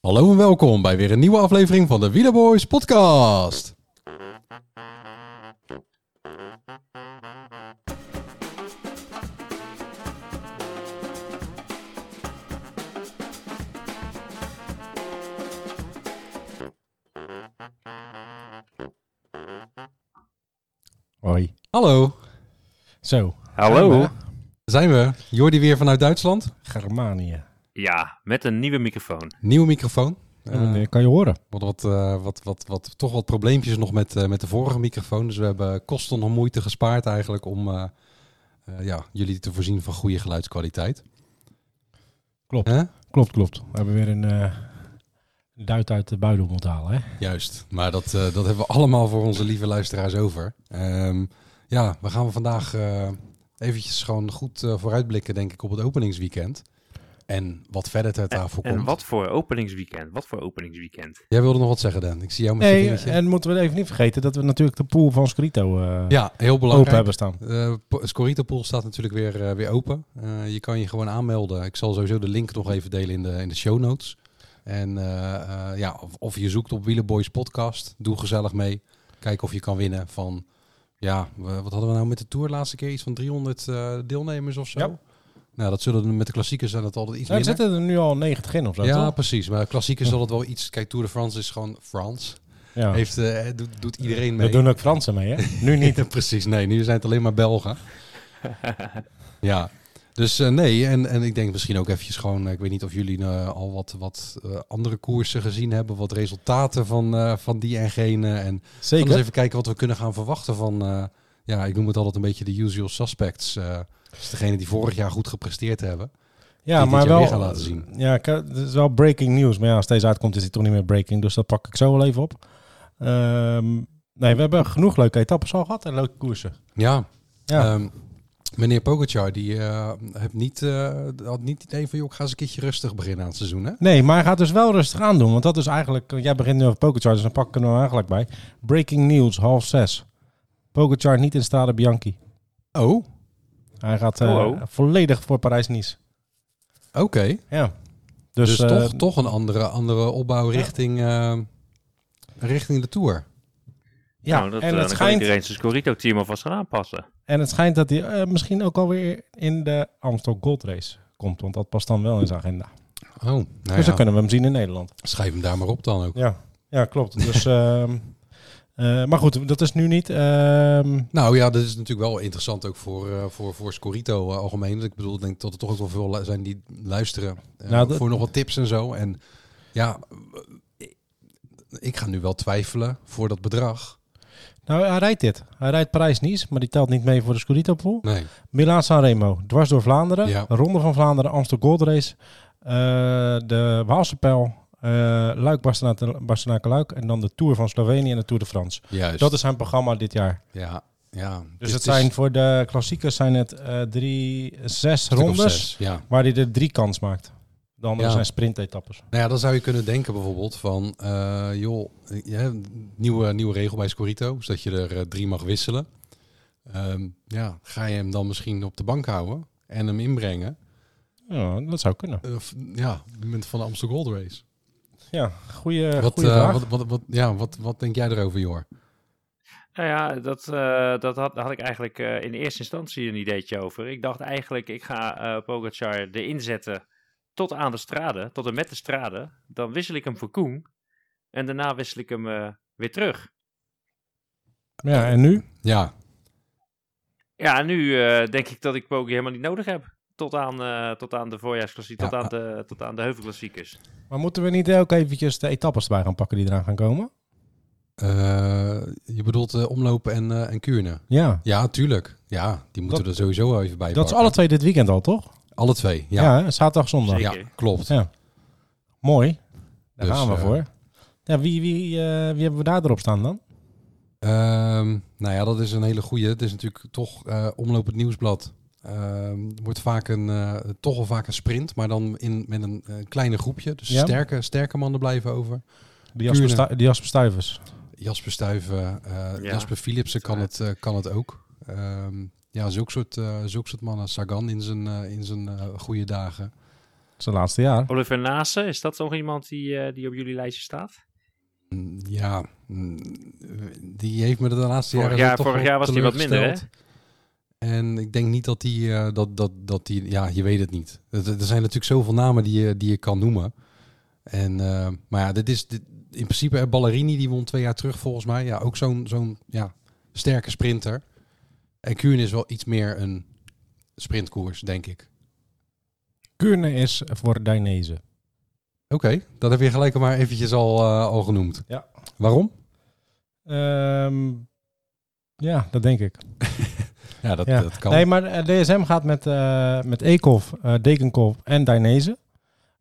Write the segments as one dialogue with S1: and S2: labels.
S1: Hallo en welkom bij weer een nieuwe aflevering van de Wielerboys podcast.
S2: Hoi.
S1: Hallo,
S2: Zo.
S3: Hallo.
S2: Zijn we?
S1: daar zijn we. Jordi weer vanuit Duitsland.
S2: Germanië.
S3: Ja, met een nieuwe microfoon.
S1: Nieuwe microfoon.
S2: En,
S1: Eh,
S2: eh, kan je horen?
S1: wat, wat, eh, wat, wat, wat, toch wat probleempjes nog met, eh, met de vorige microfoon. Dus we hebben kosten en moeite gespaard eigenlijk om eh, eh, ja, jullie te voorzien van goede geluidskwaliteit.
S2: Klopt.
S1: Hè?
S2: Klopt, klopt. We hebben weer een eh, een duit uit de buidel moeten halen. Hè?
S1: Juist, maar dat, eh, dat hebben we allemaal voor onze lieve luisteraars over. Ehm, ja, we gaan vandaag eh, eventjes gewoon goed eh, vooruitblikken, denk ik, op het openingsweekend. En wat verder ter tafel
S3: En
S1: komt.
S3: wat voor openingsweekend? Wat voor openingsweekend?
S1: Jij wilde nog wat zeggen, Dan. Ik zie jou met je
S2: Nee,
S1: vingertje.
S2: en moeten we even niet vergeten dat we natuurlijk de pool van Scrito eh
S1: ja, heel
S2: open
S1: belangrijk.
S2: hebben staan.
S1: Eh, po- Scorito Pool staat natuurlijk weer, eh, weer open. Eh, je kan je gewoon aanmelden. Ik zal sowieso de link nog even delen in de, in de show notes. En eh, eh, ja, of, of je zoekt op Wielenboys podcast. Doe gezellig mee. Kijk of je kan winnen van... Ja, we- wat hadden we nou met de Tour laatste keer? Iets van 300 eh, deelnemers of zo?
S2: Ja.
S1: Nou, dat zullen er met de klassiekers zijn dat altijd iets
S2: Nou, er
S1: minder.
S2: zitten er nu al 90 in of zo.
S1: ja,
S2: toch?
S1: precies. Maar klassiekers zal het wel iets... Kijk, Tour de France is gewoon France.
S2: ja.
S1: Heeft, eh, doet, doet iedereen mee.
S2: We doen ook Fransen mee, hè? Nu niet.
S1: Ja, precies, nee, nu zijn het alleen maar Belgen. ja, dus eh, nee, en, en ik denk misschien ook eventjes gewoon, eh, ik weet niet of jullie eh, al wat, wat eh, andere koersen gezien hebben, wat resultaten van, eh, van die en gene. En dan eens
S2: Zeker.
S1: even kijken wat we kunnen gaan verwachten van, eh, ja, ik noem het altijd een beetje de usual suspects. eh dus degene die vorig jaar goed gepresteerd hebben.
S2: Ja,
S1: dit
S2: maar
S1: jaar
S2: wel.
S1: weer gaan laten zien.
S2: Ja, ik- eh, het is wel breaking news. Maar ja, als deze uitkomt, is die toch niet meer breaking. Dus dat pak ik zo wel even op. Ehm, nee, we hebben genoeg leuke etappes al gehad en leuke koersen.
S1: Ja,
S2: Ja.
S1: Ehm, meneer Pogacar, die eh, heeft niet, eh, had niet het idee van, joh, ik ga eens een keertje rustig beginnen aan het seizoen, hè?
S2: Nee, maar hij gaat dus wel rustig aan doen. Want dat is eigenlijk... Jij begint nu over Pogacar, dus dan pakken we hem eigenlijk bij. Breaking news, half zes. Pogacar niet in Strade Bianchi.
S1: Oh,
S2: Hij gaat eh,
S3: Oh, oh.
S2: volledig voor Parijs-Nice.
S1: oké.
S2: Ja.
S1: Dus,
S2: eh,
S1: toch, toch een andere, andere opbouw richting, eh, richting de Tour.
S2: Ja,
S3: nou, dat, eh,
S2: en,
S3: dan
S2: het
S3: kan
S2: schijnt,
S3: iedereen zijn Scorito-team alvast gaan aanpassen.
S2: en het schijnt dat hij eh, misschien ook alweer in de Amstel Gold Race komt. Want dat past dan wel in zijn agenda.
S1: Oh, nou
S2: dus
S1: ja.
S2: dan kunnen we hem zien in Nederland.
S1: schrijf hem daar maar op dan ook.
S2: Ja, ja klopt. Dus, ehm, eh, maar goed, dat is nu niet. ehm,
S1: Nou ja, dat is natuurlijk wel interessant ook voor, eh, voor, voor Scorito eh, algemeen. Want Ik bedoel, ik denk dat er toch ook wel veel lu- zijn die luisteren eh,
S2: Nou, dat-
S1: voor nog wat tips en zo. En ja, eh, ik ga nu wel twijfelen voor dat bedrag.
S2: nou, hij rijdt dit. Hij rijdt Parijs-Nice, maar die telt niet mee voor de Scudetto-pool.
S1: Nee,
S2: Milaan-San Remo, dwars door Vlaanderen.
S1: Ja.
S2: Ronde van Vlaanderen, Amstel Gold Race. eh, de Waalse Pijl. eh, Luik, Bastenaken- Bastenaken-Luik. En dan de Tour van Slovenië en de Tour de France.
S1: juist.
S2: Dat is zijn programma dit jaar.
S1: ja, ja. Dus,
S2: Dus het
S1: is
S2: zijn voor de klassiekers zijn het eh, drie, zes
S1: een stuk of
S2: rondes.
S1: zes, Ja.
S2: Waar hij er drie kans maakt. De andere
S1: Ja.
S2: zijn sprintetappes.
S1: Nou ja, dan zou je kunnen denken bijvoorbeeld van, eh, joh, je hebt een nieuwe, nieuwe regel bij Scorito, is dat je er eh, drie mag wisselen. Ehm, ja, ga je hem dan misschien op de bank houden en hem inbrengen?
S2: Ja, dat zou kunnen.
S1: Of, Eh, ja, op het moment van de Amsterdam Gold Race.
S2: Ja, goede
S1: wat, eh,
S2: vraag.
S1: wat, wat, wat, ja, wat, wat denk jij erover, Jor?
S3: Nou ja, dat, eh, dat had, had ik eigenlijk eh, in eerste instantie een ideetje over. Ik dacht eigenlijk, ik ga eh Pogacar erin zetten tot aan de strade, tot en met de strade. Dan wissel ik hem voor Koen en daarna wissel ik hem eh, weer terug.
S2: Ja, en nu?
S1: Ja,
S3: Ja, en nu eh, denk ik dat ik Pogacar helemaal niet nodig heb. Tot aan, eh, tot aan de voorjaarsklassiek,
S1: Ja,
S3: tot, aan de, tot aan de heuvelklassiekers.
S2: Maar moeten we niet ook eventjes de etappes erbij gaan pakken die eraan gaan komen?
S1: eh, je bedoelt eh, omlopen en, eh en kuurne.
S2: Ja.
S1: Ja, tuurlijk. Ja, die moeten
S2: Dat-
S1: er sowieso wel even bij
S2: Dat is
S1: pakken.
S2: alle twee dit weekend al, toch?
S1: alle twee, ja.
S2: Ja, hè? zaterdag, zondag.
S3: Zeker.
S1: Ja, klopt.
S2: Ja. Mooi. Daar
S1: Dus,
S2: gaan we
S1: eh,
S2: voor. Ja, wie, wie, eh, wie hebben we daar erop staan dan?
S1: Ehm, nou ja, dat is een hele goeie. Het is natuurlijk toch eh omlopend nieuwsblad. Ehm, Het wordt vaak een, eh, toch wel vaak een sprint, maar dan in, met een eh, kleine groepje. Dus
S2: Ja.
S1: sterke, sterke mannen blijven over.
S2: Die Jasper,
S1: Kuurne.
S2: Stu- die Jasper Stuyvers.
S1: Jasper Stuyven, eh, Jasper Philipsen kan het, eh, kan het ook. Ehm, ja, zulke soort, eh zulke soort mannen. Sagan in zijn, eh, in zijn eh, goede dagen.
S2: Zijn laatste jaar.
S3: Oliver Nase, is dat nog iemand die, eh, die op jullie lijstje staat?
S1: Mm, Ja, mm, die heeft me de laatste
S3: Vorig
S1: jaren
S3: jaar-
S1: toch
S3: vorig
S1: wel
S3: jaar was die wat
S1: teleurgesteld.
S3: minder,
S1: En ik denk niet dat die, eh, dat, dat, dat die, ja, je weet het niet. Er er zijn natuurlijk zoveel namen die je, die je kan noemen. En, eh, maar ja, dit is dit, in principe eh, Ballerini, die won twee jaar terug volgens mij. Ja, ook zo'n zo'n ja, sterke sprinter. En Kuhn is wel iets meer een sprintkoers, denk ik.
S2: Kuurne is voor Dainese.
S1: Oké, dat heb je gelijk maar eventjes al, eh, al genoemd.
S2: Ja.
S1: Waarom?
S2: Ehm, ja, dat denk ik.
S1: Ja, dat,
S2: Ja.
S1: dat kan.
S2: Nee, maar eh, DSM gaat met, eh met Eekhoff, eh, Dekenkop en Dainese.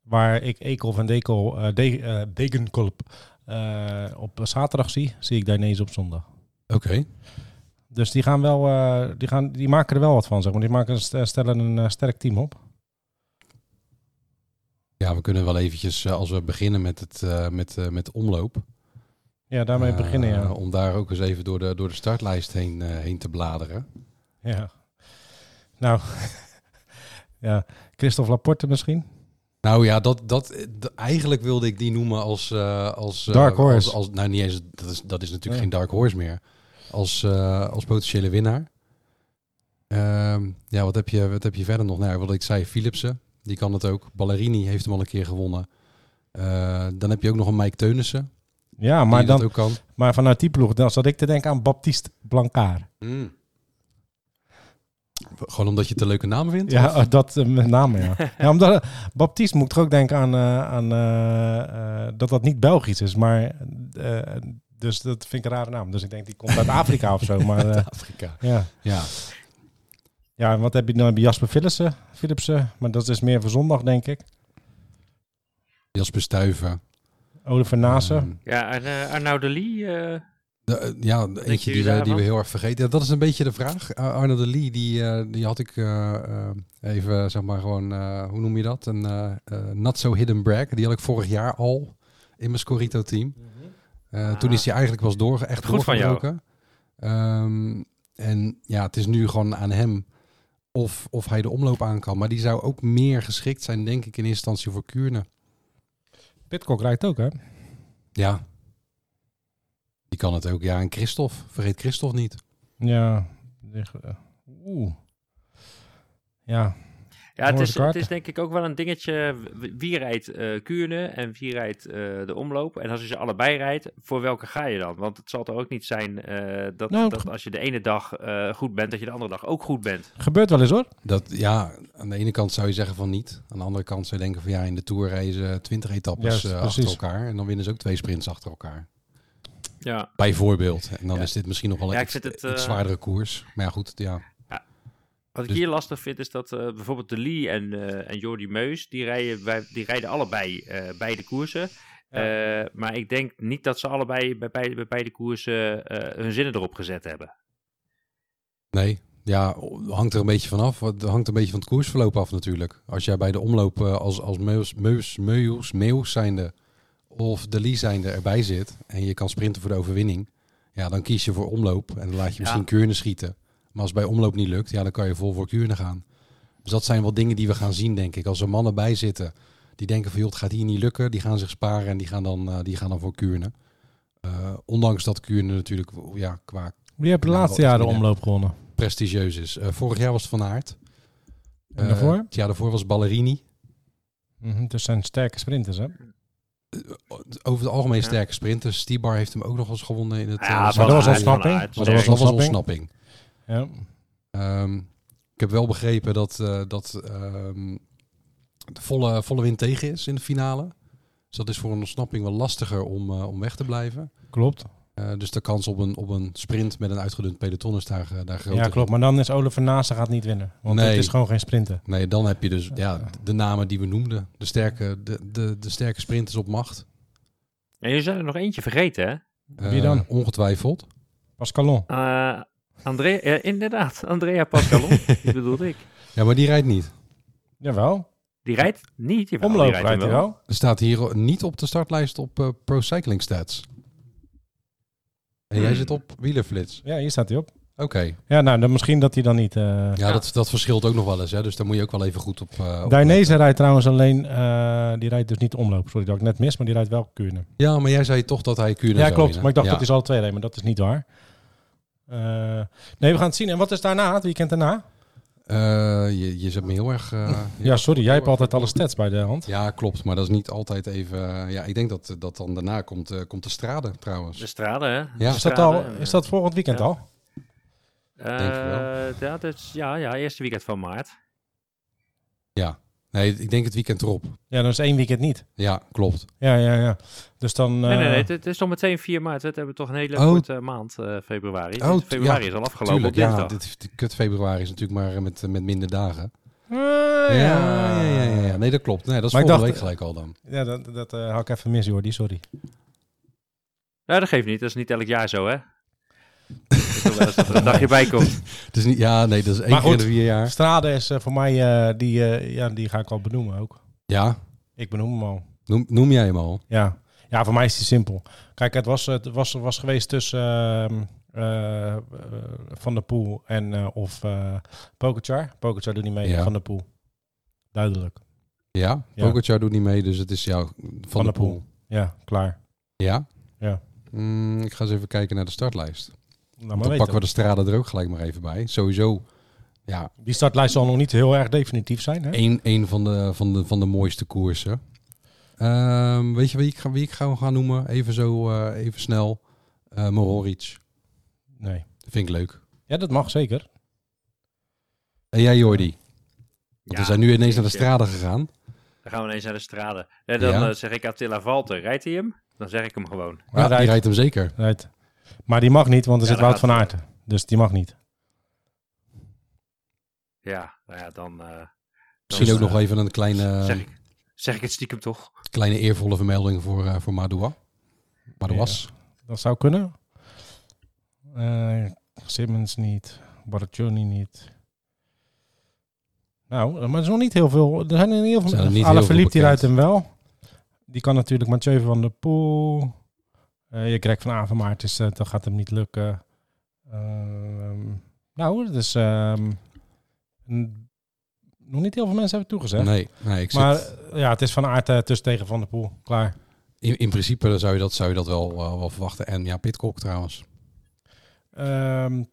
S2: Waar ik Eekhoff en Dekol, eh, De- eh, Dekenkop eh, op zaterdag zie, zie ik Dainese op zondag.
S1: Oké,
S2: Dus die, gaan wel, eh, die, gaan, die maken er wel wat van, zeg maar. Die maken, een st- stellen een eh, sterk team op.
S1: ja, we kunnen wel eventjes, eh, als we beginnen met, het, eh, met, eh, met de omloop...
S2: Ja, daarmee
S1: Eh,
S2: beginnen, ja.
S1: Om daar ook eens even door de, door de startlijst heen, eh, heen te bladeren.
S2: ja. Nou, ja. Christophe Laporte misschien?
S1: Nou ja, dat, dat, d- eigenlijk wilde ik die noemen als... eh, als eh,
S2: Dark horse.
S1: Als, als, nou, niet eens, dat is, dat is natuurlijk
S2: Ja.
S1: geen dark horse meer. Als, eh, als potentiële winnaar. Ehm, ja, wat heb, je, wat heb je verder nog? Nou, wat ik zei, Philipsen, die kan het ook. Ballerini heeft hem al een keer gewonnen. Eh, dan heb je ook nog een Mike Teunissen,
S2: Ja,
S1: maar
S2: maar,
S1: die
S2: dan,
S1: dat ook kan.
S2: maar vanuit die ploeg dan zat ik te denken aan Baptiste Blancard.
S1: Gewoon omdat je het een leuke naam vindt?
S2: Ja,
S1: of?
S2: eh, dat eh, met name, ja. ja omdat, eh, Baptiste moet ik toch ook denken aan, eh, aan eh, eh, dat dat niet Belgisch is, maar eh, dus dat vind ik een rare naam. Dus ik denk die komt uit Afrika of zo. Maar eh,
S1: Afrika.
S2: ja.
S1: Ja,
S2: ja, en wat heb je dan? Heb je Jasper Philipsen, Philipsen, maar dat is meer voor zondag, denk ik.
S1: Jasper Stuyven.
S2: Oliver Nase.
S1: Ehm,
S3: Ja, en, eh, Arnaud de Lee, eh,
S1: De, eh, ja, de eentje
S3: jullie
S1: die, we, die
S3: daarvan?
S1: we heel erg vergeten. Ja, dat is een beetje de vraag. Eh, Arno de Lee, die, eh, die had ik eh, eh, even, zeg maar gewoon, eh, hoe noem je dat? Een eh eh, not so hidden brag. Die had ik vorig jaar al in mijn Scorito-team. Eh,
S3: Ah.
S1: Toen is hij eigenlijk was doorge echt
S3: Goed van jou.
S1: doorgebroken. Ehm, en ja, het is nu gewoon aan hem of, of hij de omloop aan kan. Maar die zou ook meer geschikt zijn, denk ik, in eerste instantie voor Kuurne.
S2: Pitcock rijdt ook, hè?
S1: Ja. Die kan het ook. Ja, en Christophe. Vergeet Christophe niet.
S2: Ja. die ge- eh, Oeh. Ja.
S3: ja, het
S2: Hoor
S3: is,
S2: de kaarten.
S3: het is denk ik ook wel een dingetje. w- Wie rijdt eh Kuurne en wie rijdt eh, de omloop? En als je ze allebei rijdt, voor welke ga je dan? Want het zal toch ook niet zijn eh, dat,
S2: Nou,
S3: dat
S2: het-
S3: als je de ene dag eh, goed bent, dat je de andere dag ook goed bent.
S2: Gebeurt wel eens, hoor.
S1: Dat, ja, aan de ene kant zou je zeggen van niet. Aan de andere kant zou je denken van ja, in de Tour reizen 20 etappes
S2: Juist,
S1: eh, achter
S2: precies.
S1: elkaar. En dan winnen ze ook twee sprints achter elkaar.
S3: Ja.
S1: Bijvoorbeeld. En dan
S3: Ja.
S1: is dit misschien nog wel een
S3: Ja, ik
S1: iets,
S3: vind het,
S1: iets
S3: eh,
S1: zwaardere koers. Maar ja, goed, ja.
S3: Wat ik
S1: Dus-
S3: hier lastig vind is dat eh, bijvoorbeeld de Lee en, eh, en Jordi Meus, die rijden, bij, die rijden allebei eh, beide koersen. Eh, maar ik denk niet dat ze allebei bij beide, bij beide koersen eh, hun zinnen erop gezet hebben.
S1: Nee. Ja, hangt er een beetje van af. Het hangt een beetje van het koersverloop af natuurlijk. Als jij bij de omloop eh, als, als Meus, Meus, Meus, Meus zijnde of de Lee zijnde erbij zit en je kan sprinten voor de overwinning, ja, dan kies je voor omloop en dan laat je misschien
S3: Ja.
S1: Kuurne schieten. Maar als het bij omloop niet lukt, ja, dan kan je vol voor Kuurne gaan. Dus dat zijn wel dingen die we gaan zien, denk ik. Als er mannen bij zitten die denken van, joh, het gaat hier niet lukken, die gaan zich sparen en die gaan dan, eh, die gaan dan voor Kuurne. Eh, ondanks dat Kuurne natuurlijk ja, qua
S2: Wie heeft de
S1: Nou,
S2: laatste
S1: wat
S2: jaren de
S1: niet, hè?
S2: omloop gewonnen?
S1: prestigieus is. Eh, vorig jaar was het Van Aert.
S2: En daarvoor?
S1: Eh, ja, daarvoor was Ballerini.
S2: Mhm, dus zijn sterke sprinters, hè?
S1: Over het algemeen
S3: Ja.
S1: sterke sprinters. Stibar heeft hem ook nog eens gewonnen in het... eh,
S3: Ja,
S1: dat
S2: Maar dat was
S3: Van Aert,
S2: ontsnapping.
S3: Van Aert,
S2: Maar
S1: was-
S2: dat
S1: dat was
S2: was ontsnapping.
S1: ontsnapping.
S2: Ja.
S1: Ehm, ik heb wel begrepen dat, eh, dat ehm, de volle, volle wind tegen is in de finale. Dus dat is voor een ontsnapping wel lastiger om, eh, om weg te blijven.
S2: Klopt.
S1: Eh, dus de kans op een, op een sprint met een uitgedund peloton is daar, eh, daar groter.
S2: Ja, klopt. Maar dan is Oliver Naasten gaat niet winnen. Want
S1: Nee.
S2: het is gewoon geen sprinten.
S1: Nee, dan heb je dus ja, de namen die we noemden. De sterke, de, de, de sterke sprinters op macht.
S3: En jullie zijn er nog eentje vergeten, hè?
S2: Wie dan?
S1: Eh, ongetwijfeld.
S2: Pascalon.
S3: Eh Andrea, eh, inderdaad, Andrea Pascalon, die bedoelde ik.
S1: Ja, maar die rijdt niet.
S2: Jawel.
S3: Die rijdt niet. jawel, die
S2: Omloop
S3: hem
S2: rijdt hij wel.
S1: Er staat hier niet op de startlijst op eh, Pro Cycling Stats. En jij
S3: Hmm.
S1: zit op wielerflits.
S2: Ja, hier staat hij op.
S1: Oké,
S2: Ja, nou, dan misschien dat hij dan niet... eh
S1: ja, Dat, dat verschilt ook nog wel eens. Hè? Dus daar moet je ook wel even goed op. eh, op
S2: Dainese rijdt trouwens alleen, eh, die rijdt dus niet omloop. Sorry dat ik net mis, maar die rijdt wel Kuurne.
S1: Ja, maar jij zei toch dat hij Kuurne
S2: Ja,
S1: zou
S2: klopt.
S1: winnen.
S2: Maar ik dacht
S1: Ja.
S2: dat hij ze alle twee rijden, maar dat is niet waar. Eh, nee, we gaan het zien. En wat is daarna, het weekend daarna?
S1: Eh, je, je zet me heel erg... eh,
S2: Ja, sorry, jij hebt altijd alle stats bij de hand.
S1: Ja, klopt. Maar dat is niet altijd even... eh, ja, ik denk dat dat dan daarna komt, eh, komt de strade
S3: De
S2: Dus-
S1: trouwens.
S3: straden, hè?
S1: Ja.
S3: De
S2: Is dat, al,
S3: straden, eh,
S2: is dat volgend weekend
S3: Ja.
S2: al?
S3: eh,
S1: denk ik wel.
S3: ja, dat is, ja, ja, eerste weekend van maart.
S1: Nee, ik denk het weekend erop.
S2: Ja, dan is één weekend niet.
S1: Ja, klopt.
S2: Ja, ja, ja. Dus dan...
S3: Nee, nee,
S2: eh,
S3: nee, het, het is nog meteen 4 maart. hè. We hebben toch een hele
S1: Oh.
S3: korte maand, eh, februari.
S1: Oh,
S3: Dit februari
S1: ja,
S3: is al afgelopen
S1: Tuurlijk,
S3: op dinsdag.
S1: ja. Dit, dit kut februari is natuurlijk maar eh, met, eh, met minder dagen.
S2: eh,
S1: ja, ja, ja, ja. Nee, dat klopt. Nee, dat is
S2: Maar ik
S1: volgende
S2: dacht-
S1: week gelijk al dan.
S2: Ja, dat, dat eh, hou ik even mis, Jordi, sorry.
S3: Nou, dat geeft niet. Dat is niet elk jaar zo, hè? Ik wil wel eens dat er een dagje bij komt.
S1: Het is niet, ja, nee, dat is één
S2: Maar
S1: keer in
S2: goed.
S1: de vier jaar.
S2: Strade is eh, voor mij, eh, die, eh, ja, die ga ik al benoemen ook.
S1: Ja,
S2: Ik benoem hem al.
S1: noem, noem jij hem al.
S2: Ja, ja voor mij is die simpel. Kijk, het was, het was, was geweest tussen ehm, eh, eh, Van der Poel en eh, of eh Pogacar. Pogacar doet niet mee,
S1: Ja.
S2: Van der Poel. Duidelijk.
S1: Ja,
S2: Ja.
S1: Pogacar doet niet mee, dus het is jou van,
S2: Van
S1: de
S2: der Poel.
S1: pool.
S2: Ja, klaar.
S1: Ja?
S2: Ja.
S1: Mm, ik ga eens even kijken naar de startlijst.
S2: Laat maar
S1: Dan
S2: weten.
S1: pakken we de strade er ook gelijk maar even bij. Sowieso, ja,
S2: Die startlijst zal nog niet heel erg definitief zijn. Hè?
S1: één, één van, de, van, de, van de mooiste koersen. Ehm, weet je wie ik, ga, wie ik ga, gaan noemen? Even zo, eh, even snel. Eh Mohoric.
S2: Nee.
S1: Vind ik leuk.
S2: Ja, dat mag zeker.
S1: En jij Jordi? Want we
S3: Ja,
S1: zijn nu ineens naar de
S3: ja.
S1: strade gegaan.
S3: Dan gaan we ineens naar de straden. En dan
S1: Ja.
S3: eh, zeg ik Attila Valter, rijdt hij hem? Dan zeg ik hem gewoon.
S1: Ja,
S2: Maar
S1: die
S2: rijdt-
S1: rijdt hem zeker.
S2: Right. Maar die mag niet, want er
S3: Ja,
S2: zit
S3: daar
S2: Wout
S3: gaat
S2: van Aert. Dus die mag niet.
S3: Ja, nou ja, dan eh,
S1: Misschien ook
S3: eh,
S1: nog even een kleine,
S3: zeg, ik, zeg ik het stiekem toch.
S1: kleine eervolle vermelding voor, eh, voor Madoua. Madouas.
S2: Dat zou kunnen. Eh, Simmons niet. Baraccioni niet. Nou, maar er is nog niet heel veel. Er zijn er niet heel veel.
S1: Zijn er niet
S2: Alain
S1: heel veel
S2: Philippe, die
S1: bekend.
S2: rijdt hem wel. Die kan natuurlijk Mathieu van der Poel. Eh, je krijgt van Avermaart, dus eh, dat gaat hem niet lukken. Ehm, nou, dus... ehm, n- nog niet heel veel mensen hebben toegezegd.
S1: Nee, nee, ik zit...
S2: maar eh, ja, het is van Aert eh, tussen tegen Van der Poel. Klaar.
S1: In, in principe zou je dat, zou je dat wel, eh, wel verwachten. En ja, Pitcock trouwens.
S2: Ehm,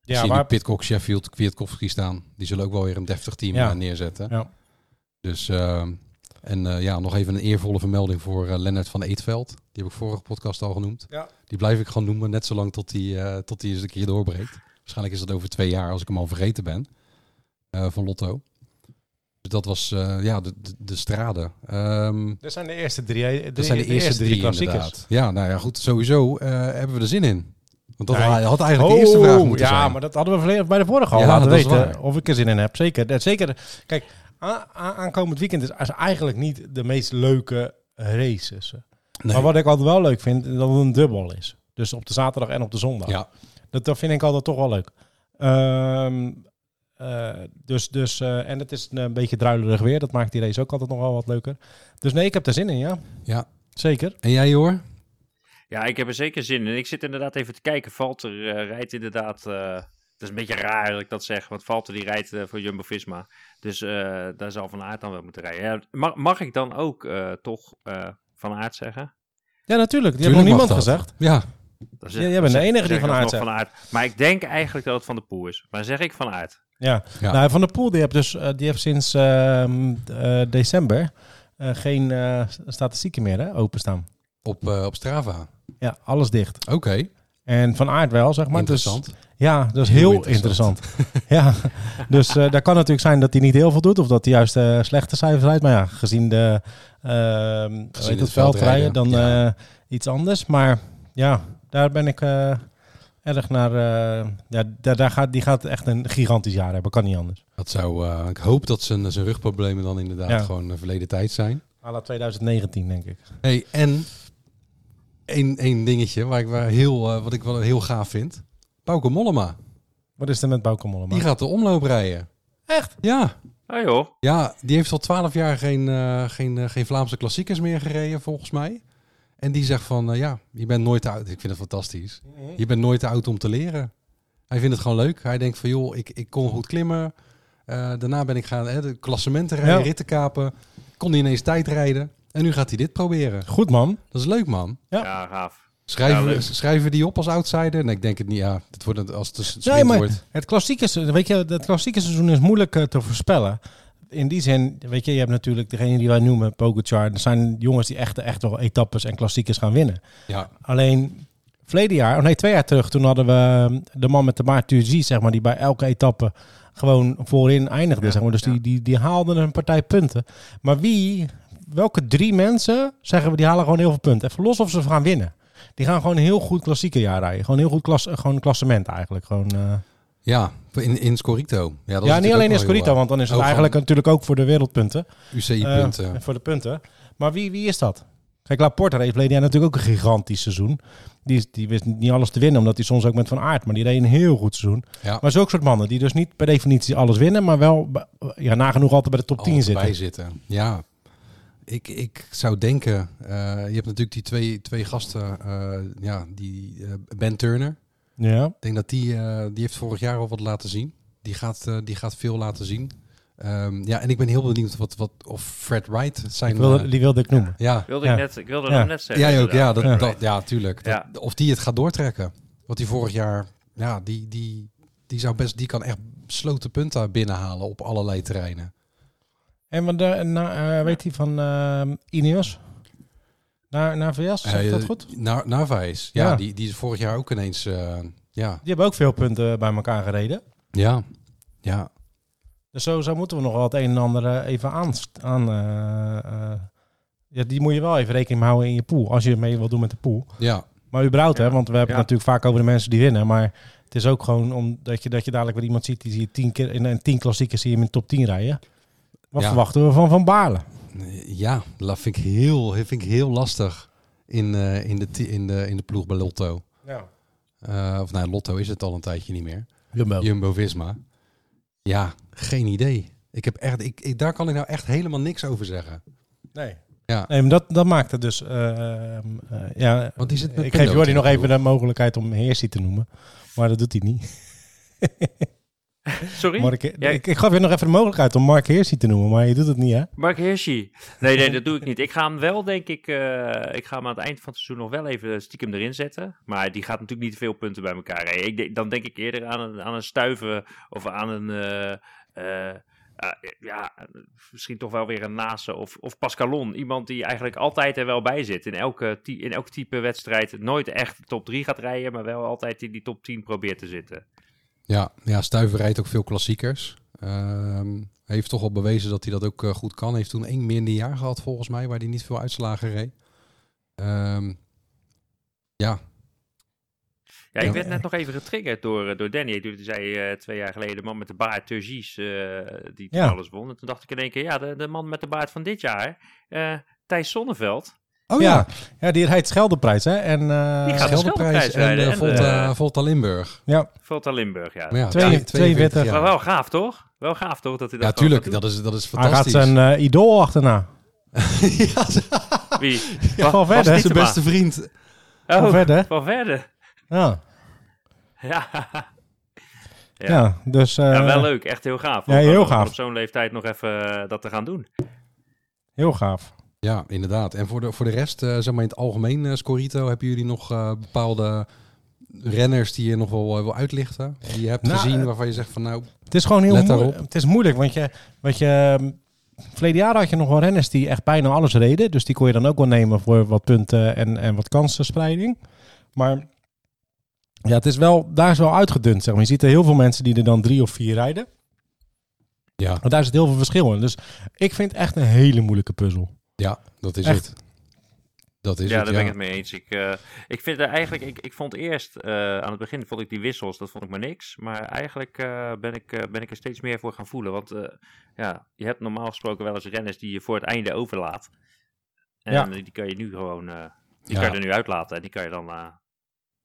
S1: Ja, waar... Pitcock, Sheffield, Kwiatkowski staan. Die zullen ook wel weer een deftig team
S2: Ja.
S1: eh, neerzetten.
S2: Ja.
S1: Dus, ehm, en eh, ja, nog even een eervolle vermelding voor eh, Lennart van Eetveld. Die heb ik vorige podcast al genoemd.
S2: Ja.
S1: Die blijf ik gewoon noemen, net zolang tot die, eh, tot die eens een keer doorbreekt. Waarschijnlijk is dat over twee jaar, als ik hem al vergeten ben, eh, van Lotto. Dus dat was eh, ja, de, de, de strade. Ehm,
S2: Dat zijn de eerste drie. hè? Drie-
S1: dat zijn de, eerste, eh, drie, inderdaad. Ja, nou ja, goed. Sowieso eh, hebben we er zin in. Want dat
S2: Nee.
S1: had eigenlijk de eerste vraag moeten
S2: Oh, ja,
S1: zijn.
S2: maar dat hadden we verleden- bij de vorige al
S1: Ja,
S2: laten
S1: dat is
S2: weten
S1: waar.
S2: of ik er zin in heb. Zeker. Dat, zeker. Kijk, a- a- aankomend weekend is is eigenlijk niet de meest leuke races.
S1: Nee.
S2: Maar wat ik altijd wel leuk vind, is dat het een dubbel is. Dus op de zaterdag en op de zondag.
S1: Ja.
S2: Dat, dat vind ik altijd toch wel leuk. Ehm, eh, dus, dus, eh, en het is een, beetje druilerig weer. Dat maakt die race ook altijd nog wel wat leuker. Dus nee, ik heb er zin in, ja.
S1: Ja.
S2: Zeker.
S1: En jij hoor?
S3: Ja, ik heb er zeker zin in. Ik zit inderdaad even te kijken. Valter eh, rijdt inderdaad. eh, het is een beetje raar dat ik dat zeg, want Valter die rijdt eh, voor Jumbo Visma. Dus eh, daar zal Van Aert dan wel moeten rijden. Ja, mag, mag ik dan ook eh, toch eh, Van Aert zeggen?
S2: Ja, natuurlijk. Die heeft nog
S1: Tuurlijk
S2: niemand
S1: mag dat.
S2: gezegd.
S1: Ja.
S3: Dan
S2: Ja, jij bent de
S3: dan
S2: enige
S3: zeg
S2: die Van
S3: ik
S2: Aert
S3: alsnog Aert. Maar ik denk eigenlijk dat het Van de Poel is. Maar zeg ik Van Aert?
S2: Ja,
S1: Ja.
S2: Nou, Van der Poel die heeft dus eh, die heeft sinds ehm, eh, december eh, geen eh, statistieken meer hè, openstaan.
S1: Op, eh, op Strava.
S2: Ja, alles dicht.
S1: Oké,
S2: En van aard wel, zeg maar.
S1: interessant.
S2: Dus, ja, dat is heel,
S1: Heel interessant.
S2: interessant. ja, dus eh dat kan natuurlijk zijn dat hij niet heel veel doet of dat hij juist eh, slechte cijfers rijdt. Maar ja, gezien de ehm
S1: Gezien
S2: weet
S1: het
S2: het veldrijden, dan
S1: veldrijden,
S2: eh, iets anders. Maar ja, daar ben ik eh, erg naar. eh, ja, daar, daar gaat, die gaat echt een gigantisch jaar hebben. Kan niet anders.
S1: Dat zou, eh, ik hoop dat zijn, zijn rugproblemen dan inderdaad
S2: Ja.
S1: gewoon eh, verleden tijd zijn.
S2: À la 2019, denk ik.
S1: Hey, en één, één dingetje waar ik waar heel, eh, wat ik wel heel gaaf vind. Bauke Mollema,
S2: Wat is er met Bauke Mollema?
S1: die gaat de omloop rijden.
S2: Echt?
S1: Ja,
S3: Oh joh.
S1: ja die heeft al twaalf jaar geen, eh, geen, eh, geen Vlaamse klassiekers meer gereden volgens mij. En die zegt van, eh, ja, je bent nooit te oud. Ik vind het fantastisch. Je bent nooit te oud om te leren. Hij vindt het gewoon leuk. Hij denkt van joh, ik, ik kon goed klimmen. Eh, daarna ben ik gaan hè, de klassementen rijden,
S2: Ja.
S1: ritten kapen. Kon hij ineens tijd rijden. En nu gaat hij dit proberen.
S2: Goed man.
S1: Dat is leuk man.
S2: Ja.
S3: Ja, gaaf. Ja,
S1: Schrijven, we-
S3: leuk.
S1: schrijven we die op als outsider? Nee, ik denk het niet. Ja, het wordt het, als het een sprint
S2: Nee, maar-
S1: wordt.
S2: Het klassieke, se- weet je, het klassieke seizoen is moeilijk eh, te voorspellen. In die zin, weet je, je hebt natuurlijk degene die wij noemen, Pogacar. Er zijn jongens die echt, echt wel etappes en klassiekers gaan winnen.
S1: Ja,
S2: Alleen verleden jaar, oh nee, twee jaar terug, toen hadden we eh, de man met de baard Turgie, zeg maar, die bij elke etappe gewoon voorin eindigde.
S3: Ja,
S2: zeg maar. Dus die,
S3: ja.
S2: die, die haalden een partij punten. Maar wie, welke drie mensen, zeggen we, die halen gewoon heel veel punten. Even los of ze gaan winnen. Die gaan gewoon een heel goed klassieke jaar rijden. Gewoon heel goed klas, eh, gewoon een klassement eigenlijk. Gewoon, eh.
S1: ja in, in Scorito. Ja, dat is
S2: Ja, niet
S1: natuurlijk ook
S2: alleen in
S1: wel heel,
S2: Scorito,
S1: eh,
S2: want dan is het
S1: ook
S2: eigenlijk natuurlijk ook voor de wereldpunten.
S1: UCI-punten.
S2: Eh, voor de punten. Maar wie, wie is dat? Kijk, Laporte heeft verleden jaar natuurlijk ook een gigantisch seizoen. Die, is- die wist niet alles te winnen, omdat hij soms ook met Van Aert... maar die deed een heel goed seizoen.
S1: ja,
S2: Maar zulke soort mannen, die dus niet per definitie alles winnen... maar wel b- ja, nagenoeg altijd bij de top 10
S1: Altijd
S2: zitten.
S1: bij eh, zitten. Ja, ik, ik zou denken, eh, je hebt natuurlijk die twee, twee gasten, eh, ja, die eh, Ben Turner.
S2: Ja,
S1: Ik denk dat die, eh, die heeft vorig jaar al wat laten zien. Die gaat, eh, die gaat veel laten zien. Ehm, ja, en ik ben heel benieuwd wat, wat, of Fred Wright zijn.
S2: ik wilde,
S1: eh,
S2: die wilde ik noemen.
S1: ja,
S3: Wilde
S2: Ja.
S3: ik, net, ik wilde
S2: Ja.
S3: hem net zeggen.
S1: jij ook. Ja, dat,
S2: Ja.
S1: Dat, ja tuurlijk. Dat-
S3: Ja.
S1: of die het gaat doortrekken. Want die vorig jaar, ja, die, die, die zou best, die kan echt sloten punten binnenhalen op allerlei terreinen.
S2: En wat de, na, eh, weet hij van eh, Ineos? Naar, naar VS, zeg ik dat
S1: Eh,
S2: goed?
S1: Na, Narvaez. Ja,
S2: Ja.
S1: Die, die is vorig jaar ook ineens, eh, ja.
S2: Die hebben ook veel punten bij elkaar gereden.
S1: Ja. Ja.
S2: Dus zo, zo moeten we nog wel het een en ander eh, even aan... aan eh, eh, ja, die moet je wel even rekening mee houden in je pool. Als je mee wil doen met de pool.
S1: Ja.
S2: Maar überhaupt, hè, want we hebben
S3: Ja.
S2: het natuurlijk vaak over de mensen die winnen. Maar het is ook gewoon omdat je, dat je dadelijk weer iemand ziet... die zie je tien keer in een tien klassiekers zie je hem in de top 10 rijden. Wat
S1: Ja.
S2: verwachten we van Van Baarle?
S1: Ja, dat vind ik heel, vind ik heel lastig in, eh, in, de, ti- in, de, in de ploeg bij Lotto.
S2: Ja.
S1: Eh, of nou, Lotto is het al een tijdje niet meer.
S2: Oh.
S1: Jumbo-Visma. Ja, geen idee. Ik heb echt, ik, ik- daar kan ik nou echt helemaal niks over zeggen.
S2: Nee.
S1: Ja.
S2: Nee, maar dat, dat maakt het dus... eh, eh, ja,
S1: Want die zit met
S2: ik geef
S1: Pindot
S2: Jordi
S1: in
S2: nog
S1: de
S2: even
S1: ploeg.
S2: de mogelijkheid om Heersie te noemen. Maar dat doet hij niet.
S3: Sorry? Mark,
S2: Mark, ik,
S3: Jij-
S2: ik gaf je nog even de mogelijkheid om Mark Heersie te noemen. Maar je doet het niet, hè?
S3: Hirschi. Nee, nee, dat doe ik niet. Ik ga hem wel, denk ik, eh, ik ga hem aan het eind van het seizoen nog wel even stiekem erin zetten. Maar die gaat natuurlijk niet veel punten bij elkaar rijden. Ik denk- dan denk ik eerder aan een, aan een stuiven of aan een... eh, eh, ah, ja, misschien toch wel weer een Nase of, of Pascalon. Iemand die eigenlijk altijd er wel bij zit. In, elke, ty- in elk type wedstrijd nooit echt de top 3 gaat rijden, maar wel altijd in die top 10 probeert te zitten.
S1: Ja, ja Stuiver rijdt ook veel klassiekers. Ehm, hij heeft toch al bewezen dat hij dat ook eh, goed kan. Hij heeft toen één minder jaar gehad volgens mij, waar hij niet veel uitslagen reed. Ehm, ja,
S3: Ja, ik
S1: Ja.
S3: werd net nog even getriggerd door, eh, door Danny. Toen zei eh, twee jaar geleden de man met de baard, Turgis, eh, die toen
S2: Ja.
S3: alles won. En toen dacht ik in één keer, ja, de, de man met de baard van dit jaar, eh, Thijs Sonneveld.
S1: Oh
S2: ja. ja, die rijdt Scheldeprijs, hè? En, eh,
S3: Die gaat- de
S1: Scheldeprijs
S3: Scheldeprijs
S1: en
S3: rijden
S1: eh,
S3: en,
S1: Volta,
S3: eh,
S1: Volta Limburg.
S2: ja,
S3: Volta Limburg, ja.
S1: Maar ja,
S2: Twee- 42
S1: jaar.
S3: Maar wel gaaf, toch? Wel gaaf, toch? Dat hij dat
S1: Ja,
S3: gewoon
S1: tuurlijk.
S3: gaat
S1: Dat is, dat is
S2: hij gaat
S1: fantastisch.
S2: zijn eh, idool achterna.
S1: ja,
S3: doen. Wie?
S2: Ja, Valverde,
S1: zijn
S3: Dietema.
S1: beste vriend.
S3: Oh,
S2: Van verder.
S3: Valverde.
S2: Ja,
S3: Ja.
S2: ja.
S3: Ja.
S2: dus eh,
S3: ja, wel leuk. Echt heel gaaf.
S2: ja,
S3: Om-
S2: heel
S3: om
S2: gaaf.
S3: Op zo'n leeftijd nog even eh, dat te gaan doen.
S2: heel gaaf.
S1: Ja, inderdaad. En voor de, voor de rest, eh, zeg maar in het algemeen, eh, Scorito, hebben jullie nog eh, bepaalde renners die je nog wel eh, wil uitlichten? Die je hebt
S2: Nou,
S1: gezien
S2: eh,
S1: waarvan je zegt van nou,
S2: Het is gewoon heel
S1: Let
S2: moeilijk.
S1: daarop.
S2: Het is moeilijk, want je, want je... mm, Verleden jaar had je nog wel renners die echt bijna alles reden. Dus die kon je dan ook wel nemen voor wat punten en, en wat kansenspreiding. Maar ja, het is wel, daar is wel uitgedund. Zeg maar. Je ziet er heel veel mensen die er dan drie of vier rijden.
S1: ja,
S2: Maar daar zit heel veel verschil in. Dus ik vind het echt een hele moeilijke puzzel.
S1: ja dat is
S2: Echt?
S1: het. Dat is
S3: ja,
S1: het,
S3: daar
S1: ja.
S3: ben ik het mee eens. Ik, eh, ik vind er eigenlijk, ik, ik vond eerst eh, aan het begin vond ik die wissels, dat vond ik maar niks. Maar eigenlijk eh, ben, ik, eh, ben ik er steeds meer voor gaan voelen. Want eh, ja, je hebt normaal gesproken wel eens renners die je voor het einde overlaat. En
S2: Ja.
S3: die kan je nu gewoon, eh, die
S1: Ja.
S3: kan je er nu uitlaten en die kan je dan eh, laten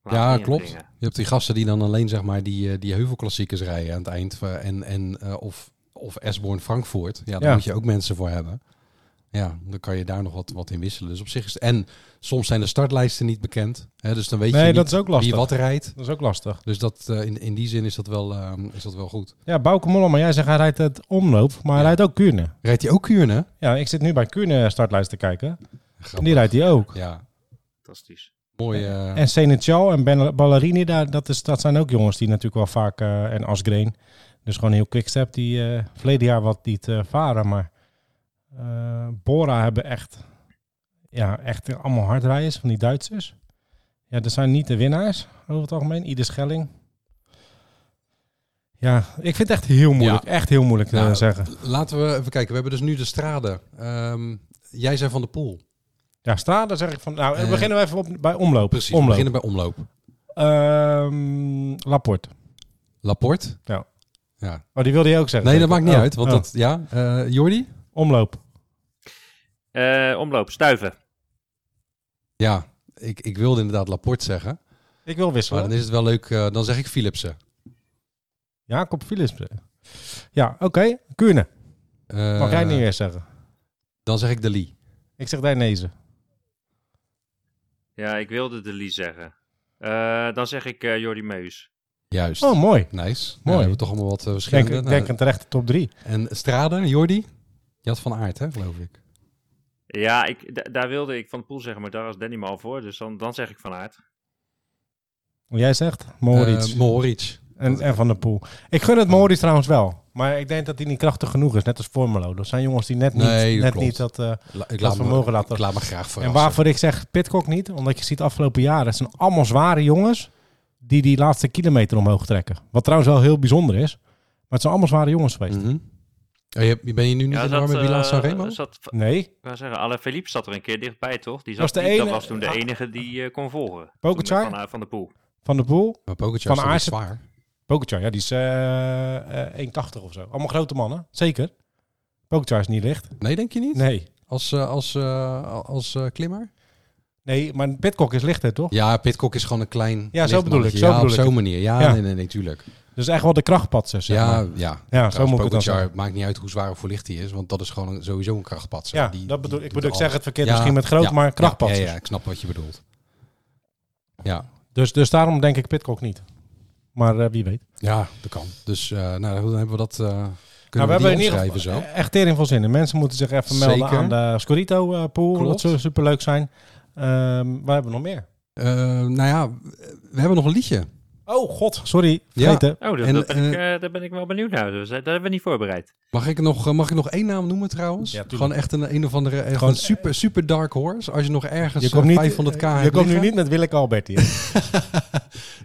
S1: Ja,
S3: inbrengen.
S1: klopt. Je hebt die gasten die dan alleen zeg maar die, eh, die heuvelklassiekers rijden aan het eind. eh, En, en, eh, of, of Esborn Frankfurt. Ja, daar
S2: Ja.
S1: moet je ook mensen voor hebben. Ja, dan kan je daar nog wat, wat in wisselen. Dus op zich is En soms zijn de startlijsten niet bekend. Hè, dus dan weet
S2: Nee,
S1: je
S2: dat
S1: niet
S2: is ook lastig.
S1: wie wat rijdt.
S2: Dat is ook lastig.
S1: Dus dat, eh, in, in die zin is dat wel, eh, is dat wel goed.
S2: Ja, Bouke Mollema, jij zegt hij rijdt het omloop, maar hij rijdt ook Kuurne.
S1: Rijdt hij ook Kuurne?
S2: Ja, ik zit nu bij Kuurne startlijst te kijken. En die rijdt hij ook.
S1: Ja,
S3: Fantastisch.
S1: mooi. eh,
S2: En Senechal en ben Ballerini, daar, dat, is, dat zijn ook jongens die natuurlijk wel vaak... eh, en Asgreen, dus gewoon heel quickstep, die eh verleden jaar wat niet eh, varen. Maar eh, Bora hebben echt, ja, echt allemaal hardrijders van die Duitsers. Ja, dat zijn niet de winnaars over het algemeen. Ieder Schelling. Ja, ik vind het echt heel moeilijk. Echt heel moeilijk te
S1: Nou,
S2: zeggen.
S1: Laten we even kijken. We hebben dus nu de straden. Ehm, jij zei van de pool.
S2: Ja, Strada zeg ik van... Nou, we
S1: Eh,
S2: beginnen we even op, bij omloop.
S1: Precies. We
S2: Omloop.
S1: beginnen bij omloop.
S2: Ehm, Laporte.
S1: Laporte.
S2: Ja.
S1: ja.
S2: Oh, die wilde je ook zeggen.
S1: Nee, dat maakt
S2: zeker?
S1: niet
S2: Oh,
S1: uit. Want
S2: oh.
S1: dat, ja. Eh, Jordi?
S2: Omloop.
S3: Eh, omloop, stuiven.
S1: Ja, ik, ik wilde inderdaad Laporte zeggen.
S2: Ik wil
S1: Maar
S2: wisselen.
S1: dan is het wel leuk. eh, dan zeg ik Philipsen.
S2: Jacob Philips. Ja, oké. Kuurne.
S1: Eh,
S2: Mag jij niet eerst zeggen?
S1: Dan zeg ik De Lee.
S2: Ik zeg Dainese.
S3: Ja, ik wilde de Lee zeggen. Eh, dan zeg ik eh Jordi Meus.
S1: Juist.
S2: Oh, mooi.
S1: Nice. Mooi.
S2: Mooi.
S1: we hebben toch allemaal wat eh,
S2: Ik denk,
S1: verschillende.
S2: ik
S1: Nou,
S2: denk een terechte top drie.
S1: En Straden, Jordi? Je had van aard, hè, geloof ik.
S3: Ja, ik, da- daar wilde ik Van de Poel zeggen, maar daar was Danny me al voor. Dus dan, dan zeg ik Van Aert.
S2: Hoe jij zegt? Moritz.
S1: Eh, Mohoric.
S2: en, en Van der Poel. Ik gun het Moritz trouwens wel. Maar ik denk dat hij niet krachtig genoeg is. Net als Formelo. Dat zijn jongens die net niet...
S1: Nee, dat
S2: net
S1: klopt.
S2: niet dat, eh,
S1: La- ik
S2: Dat
S1: laat, me,
S2: vermogen laat
S1: ik laat me graag
S2: en
S1: verrassen.
S2: waarvoor ik zeg Pitcock niet. Omdat je ziet afgelopen jaren. Het zijn allemaal zware jongens. Die die laatste kilometer omhoog trekken. Wat trouwens wel heel bijzonder is. Maar het zijn allemaal zware jongens geweest.
S1: Mhm. Oh, je, je- ben je nu niet
S3: ja,
S1: in de war met Milan
S3: eh,
S1: Sanremo?
S3: Zat, ik
S2: Nee.
S3: wou zeggen, Alain Philippe zat er een keer dichtbij, toch? Die zat,
S2: Was de
S3: die- dat
S2: ene-
S3: was toen de
S2: Ah.
S3: enige die eh, kon volgen.
S2: Pogacar?
S3: Toen met Van, eh, van de Poel.
S2: Van der Poel.
S1: Maar Pogacar
S2: Van
S1: is
S2: Aert-
S1: toch niet zwaar?
S2: Pogacar, ja, die is eh, eh, 1,80 of zo. Allemaal grote mannen, zeker. Pogacar is niet licht.
S1: Nee, denk je niet?
S2: Nee.
S1: Als, eh, als, eh, als eh, klimmer?
S2: Nee, maar Pitcock is lichter, toch?
S1: Ja, Pitcock is gewoon een klein...
S2: Ja, zo
S1: licht
S2: bedoel ik,
S1: mannetje.
S2: zo
S1: ja,
S2: bedoel
S1: op
S2: ik.
S1: zo'n manier. Ja,
S2: Ja.
S1: nee, nee, nee, tuurlijk.
S2: Dus echt wel de krachtpatser, zeg
S1: ja,
S2: maar.
S1: ja.
S2: Ja, zo
S1: Trouwens,
S2: moet ik het dan
S1: Pogacar,
S2: zeggen.
S1: maakt niet uit hoe zwaar of hoe licht hij is, want dat is gewoon een- sowieso een krachtpatser.
S2: Ja,
S1: Die-
S2: dat
S1: die
S2: bedoel ik.
S1: doet
S2: Bedoel, ik zeg
S1: alles.
S2: het verkeerd
S1: Ja,
S2: misschien met groot,
S1: ja,
S2: maar dus. krachtpatsers.
S1: Ja, ja, ja, ik snap wat je bedoelt. Ja,
S2: Dus, dus daarom denk ik Pitcock niet. Maar eh, wie weet.
S1: ja dat kan. Dus eh, nou, dan hebben we dat eh kunnen
S2: Nou,
S1: we, die
S2: in ieder
S1: omschrijven zo.
S2: geval e- echt tering veel zin in. Mensen moeten zich even melden
S1: Zeker.
S2: aan de Scorito eh, pool.
S1: Klopt.
S2: Dat zou superleuk zijn. Ehm we hebben nog meer.
S1: Eh, nou ja, we hebben nog een liedje.
S2: Oh god, sorry. Vergeten.
S3: Oh, dat,
S1: En,
S3: dat ben ik,
S1: eh,
S3: eh, daar ben ik wel benieuwd naar. Dus, eh, dat hebben we niet voorbereid.
S1: Mag ik nog, eh, mag ik nog één naam noemen trouwens?
S2: Ja, tuurlijk.
S1: Gewoon echt een, een of andere echt
S2: Gewoon,
S1: een super, super dark horse. Als je nog ergens
S2: Je
S1: eh,
S2: komt, niet,
S1: 500k
S2: je
S1: hebt
S2: komt nu
S1: liggen.
S2: niet met Willeke Albert hier.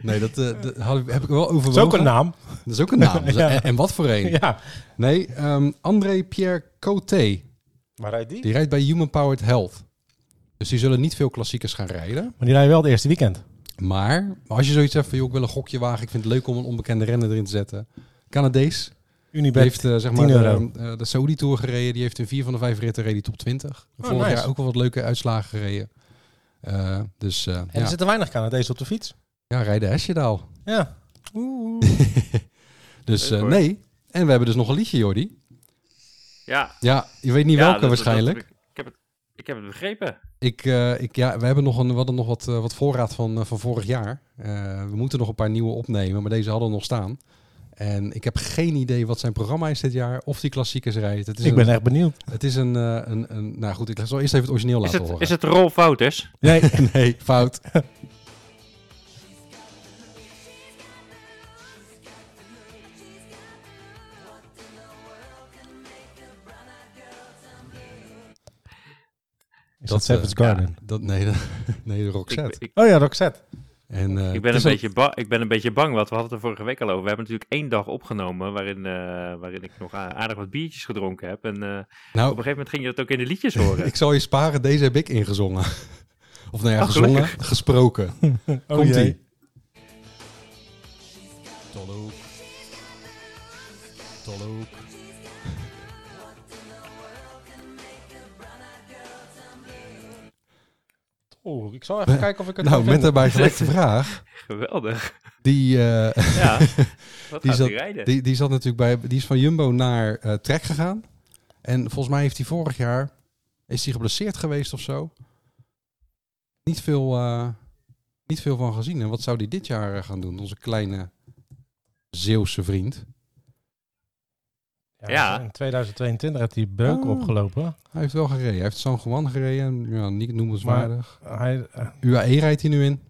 S1: Nee, dat, eh, dat had ik- heb ik wel
S2: Dat
S1: overwogen.
S2: is ook een naam.
S1: Dat is ook een naam.
S2: Ja.
S1: en, en wat voor een?
S2: Ja.
S1: Nee, ehm, André Pierre Coté.
S2: Waar rijdt
S1: Die rijdt bij Human Powered Health. Dus die zullen niet veel klassiekers gaan rijden.
S2: Maar die rijden wel het eerste weekend.
S1: Maar als je zoiets hebt van, joh, ik wil een gokje wagen. Ik vind het leuk om een onbekende renner erin te zetten. Canadees. Die
S2: Unibet.
S1: heeft eh, zeg
S2: 10
S1: maar de,
S2: euro.
S1: eh, de Saudi Tour gereden. Die heeft in vier van de vijf ritten reed die top 20.
S3: Oh,
S1: Vorig
S2: nice.
S1: jaar ook wel wat leuke uitslagen gereden. Eh, dus eh,
S2: En
S1: ja.
S2: er zitten weinig Canadezen op de fiets.
S1: ja, rijden Hesjedaal.
S2: Ja.
S1: Dus
S3: Leuk
S1: eh,
S3: hoor.
S1: nee. En we hebben dus nog een liedje, Jordi.
S3: Ja,
S1: Ja, je weet niet
S3: ja,
S1: welke
S3: dat- dat-
S1: waarschijnlijk.
S3: dat- ik, heb het, ik heb het begrepen.
S1: Ik, eh, ik, ja, we hebben nog, een, we hadden nog wat, eh, wat voorraad van, eh, van vorig jaar. Eh, we moeten nog een paar nieuwe opnemen, maar deze hadden we nog staan. En ik heb geen idee wat zijn programma is dit jaar, of die klassiekers rijdt. Het is
S2: Ik
S1: een,
S2: ben echt benieuwd.
S1: het is een, eh, een, een nou goed, ik zal eerst even het origineel
S3: Is
S1: laten
S3: het,
S1: horen.
S3: is het Rolf Wouters?
S2: Nee.
S1: Nee, fout. Dat,
S2: Is dat Savage
S1: eh,
S2: Garden?
S1: Dat, nee, dat, nee, de
S3: Ik,
S1: Roxette.
S3: ik,
S2: Oh ja, Roxette.
S1: En, eh,
S3: ik,
S1: het
S3: ben een
S1: is ook-
S3: beetje ba- ik ben een beetje bang, want we hadden het er vorige week al over. We hebben natuurlijk één dag opgenomen waarin, eh, waarin ik nog a- aardig wat biertjes gedronken heb. En eh, op een
S1: Nou,
S3: gegeven moment ging je dat ook in de liedjes horen.
S1: ik zal je sparen, deze heb ik ingezongen. Of nou ja,
S3: Oh,
S1: gezongen, gesproken.
S2: Oh
S1: Komt
S2: jee.
S1: ie. Tolhoek. Tolhoek.
S2: Oh, ik zal even kijken of ik het
S1: Nou,
S2: kan
S1: met
S2: vinden.
S1: daarbij gelijk de vraag.
S3: Geweldig.
S1: Die, eh,
S3: Ja, wat
S1: Die
S3: gaat
S1: zat-
S3: hij rijden?
S1: Die, die zat natuurlijk bij, die is van Jumbo naar eh Trek gegaan. En volgens mij heeft hij vorig jaar Is hij geblesseerd geweest of zo? Niet veel, eh, niet veel van gezien. En wat zou hij dit jaar eh, gaan doen? Onze kleine Zeeuwse vriend.
S3: Ja.
S2: In 2022 heeft hij beuken
S1: Ah.
S2: opgelopen.
S1: Hij heeft wel gereden. Hij heeft San Juan gereden. Ja, niet noemenswaardig.
S2: Hij, eh,
S1: UAE rijdt hij nu in.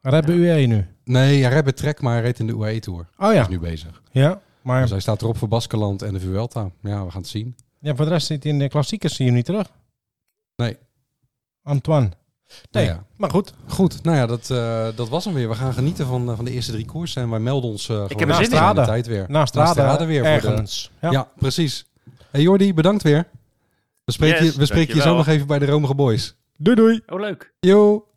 S2: hij rijdt bij UE E nu.
S1: Nee, hij rijdt bij Trek, maar hij rijdt in de UAE Tour.
S2: Oh
S1: Hij
S2: ja.
S1: is nu bezig.
S2: Ja, maar
S1: Dus hij staat erop voor Baskeland en de Vuelta. Ja, we gaan het zien.
S2: ja, voor de rest zit hij in de klassiekers. Zie je hem niet terug?
S1: Nee.
S2: Antoine. Nee,
S1: Nou ja.
S2: maar goed.
S1: Goed, nou ja, dat, eh, dat was hem weer. We gaan genieten van, eh, van de eerste drie koersen. En wij melden ons eh gewoon
S3: heb er
S1: de
S3: zin in. Nou,
S1: komende tijd weer.
S2: Naast
S1: Naast de
S2: Rade
S1: Rade weer voor de-
S2: ergens.
S1: Ja,
S2: ja.
S1: precies. Hey Jordi, bedankt weer. We spreken,
S3: Yes,
S1: je, we spreken je zo
S3: dankjewel.
S1: nog even bij de Romige Boys.
S2: Doei doei.
S3: Oh, leuk.
S1: Yo!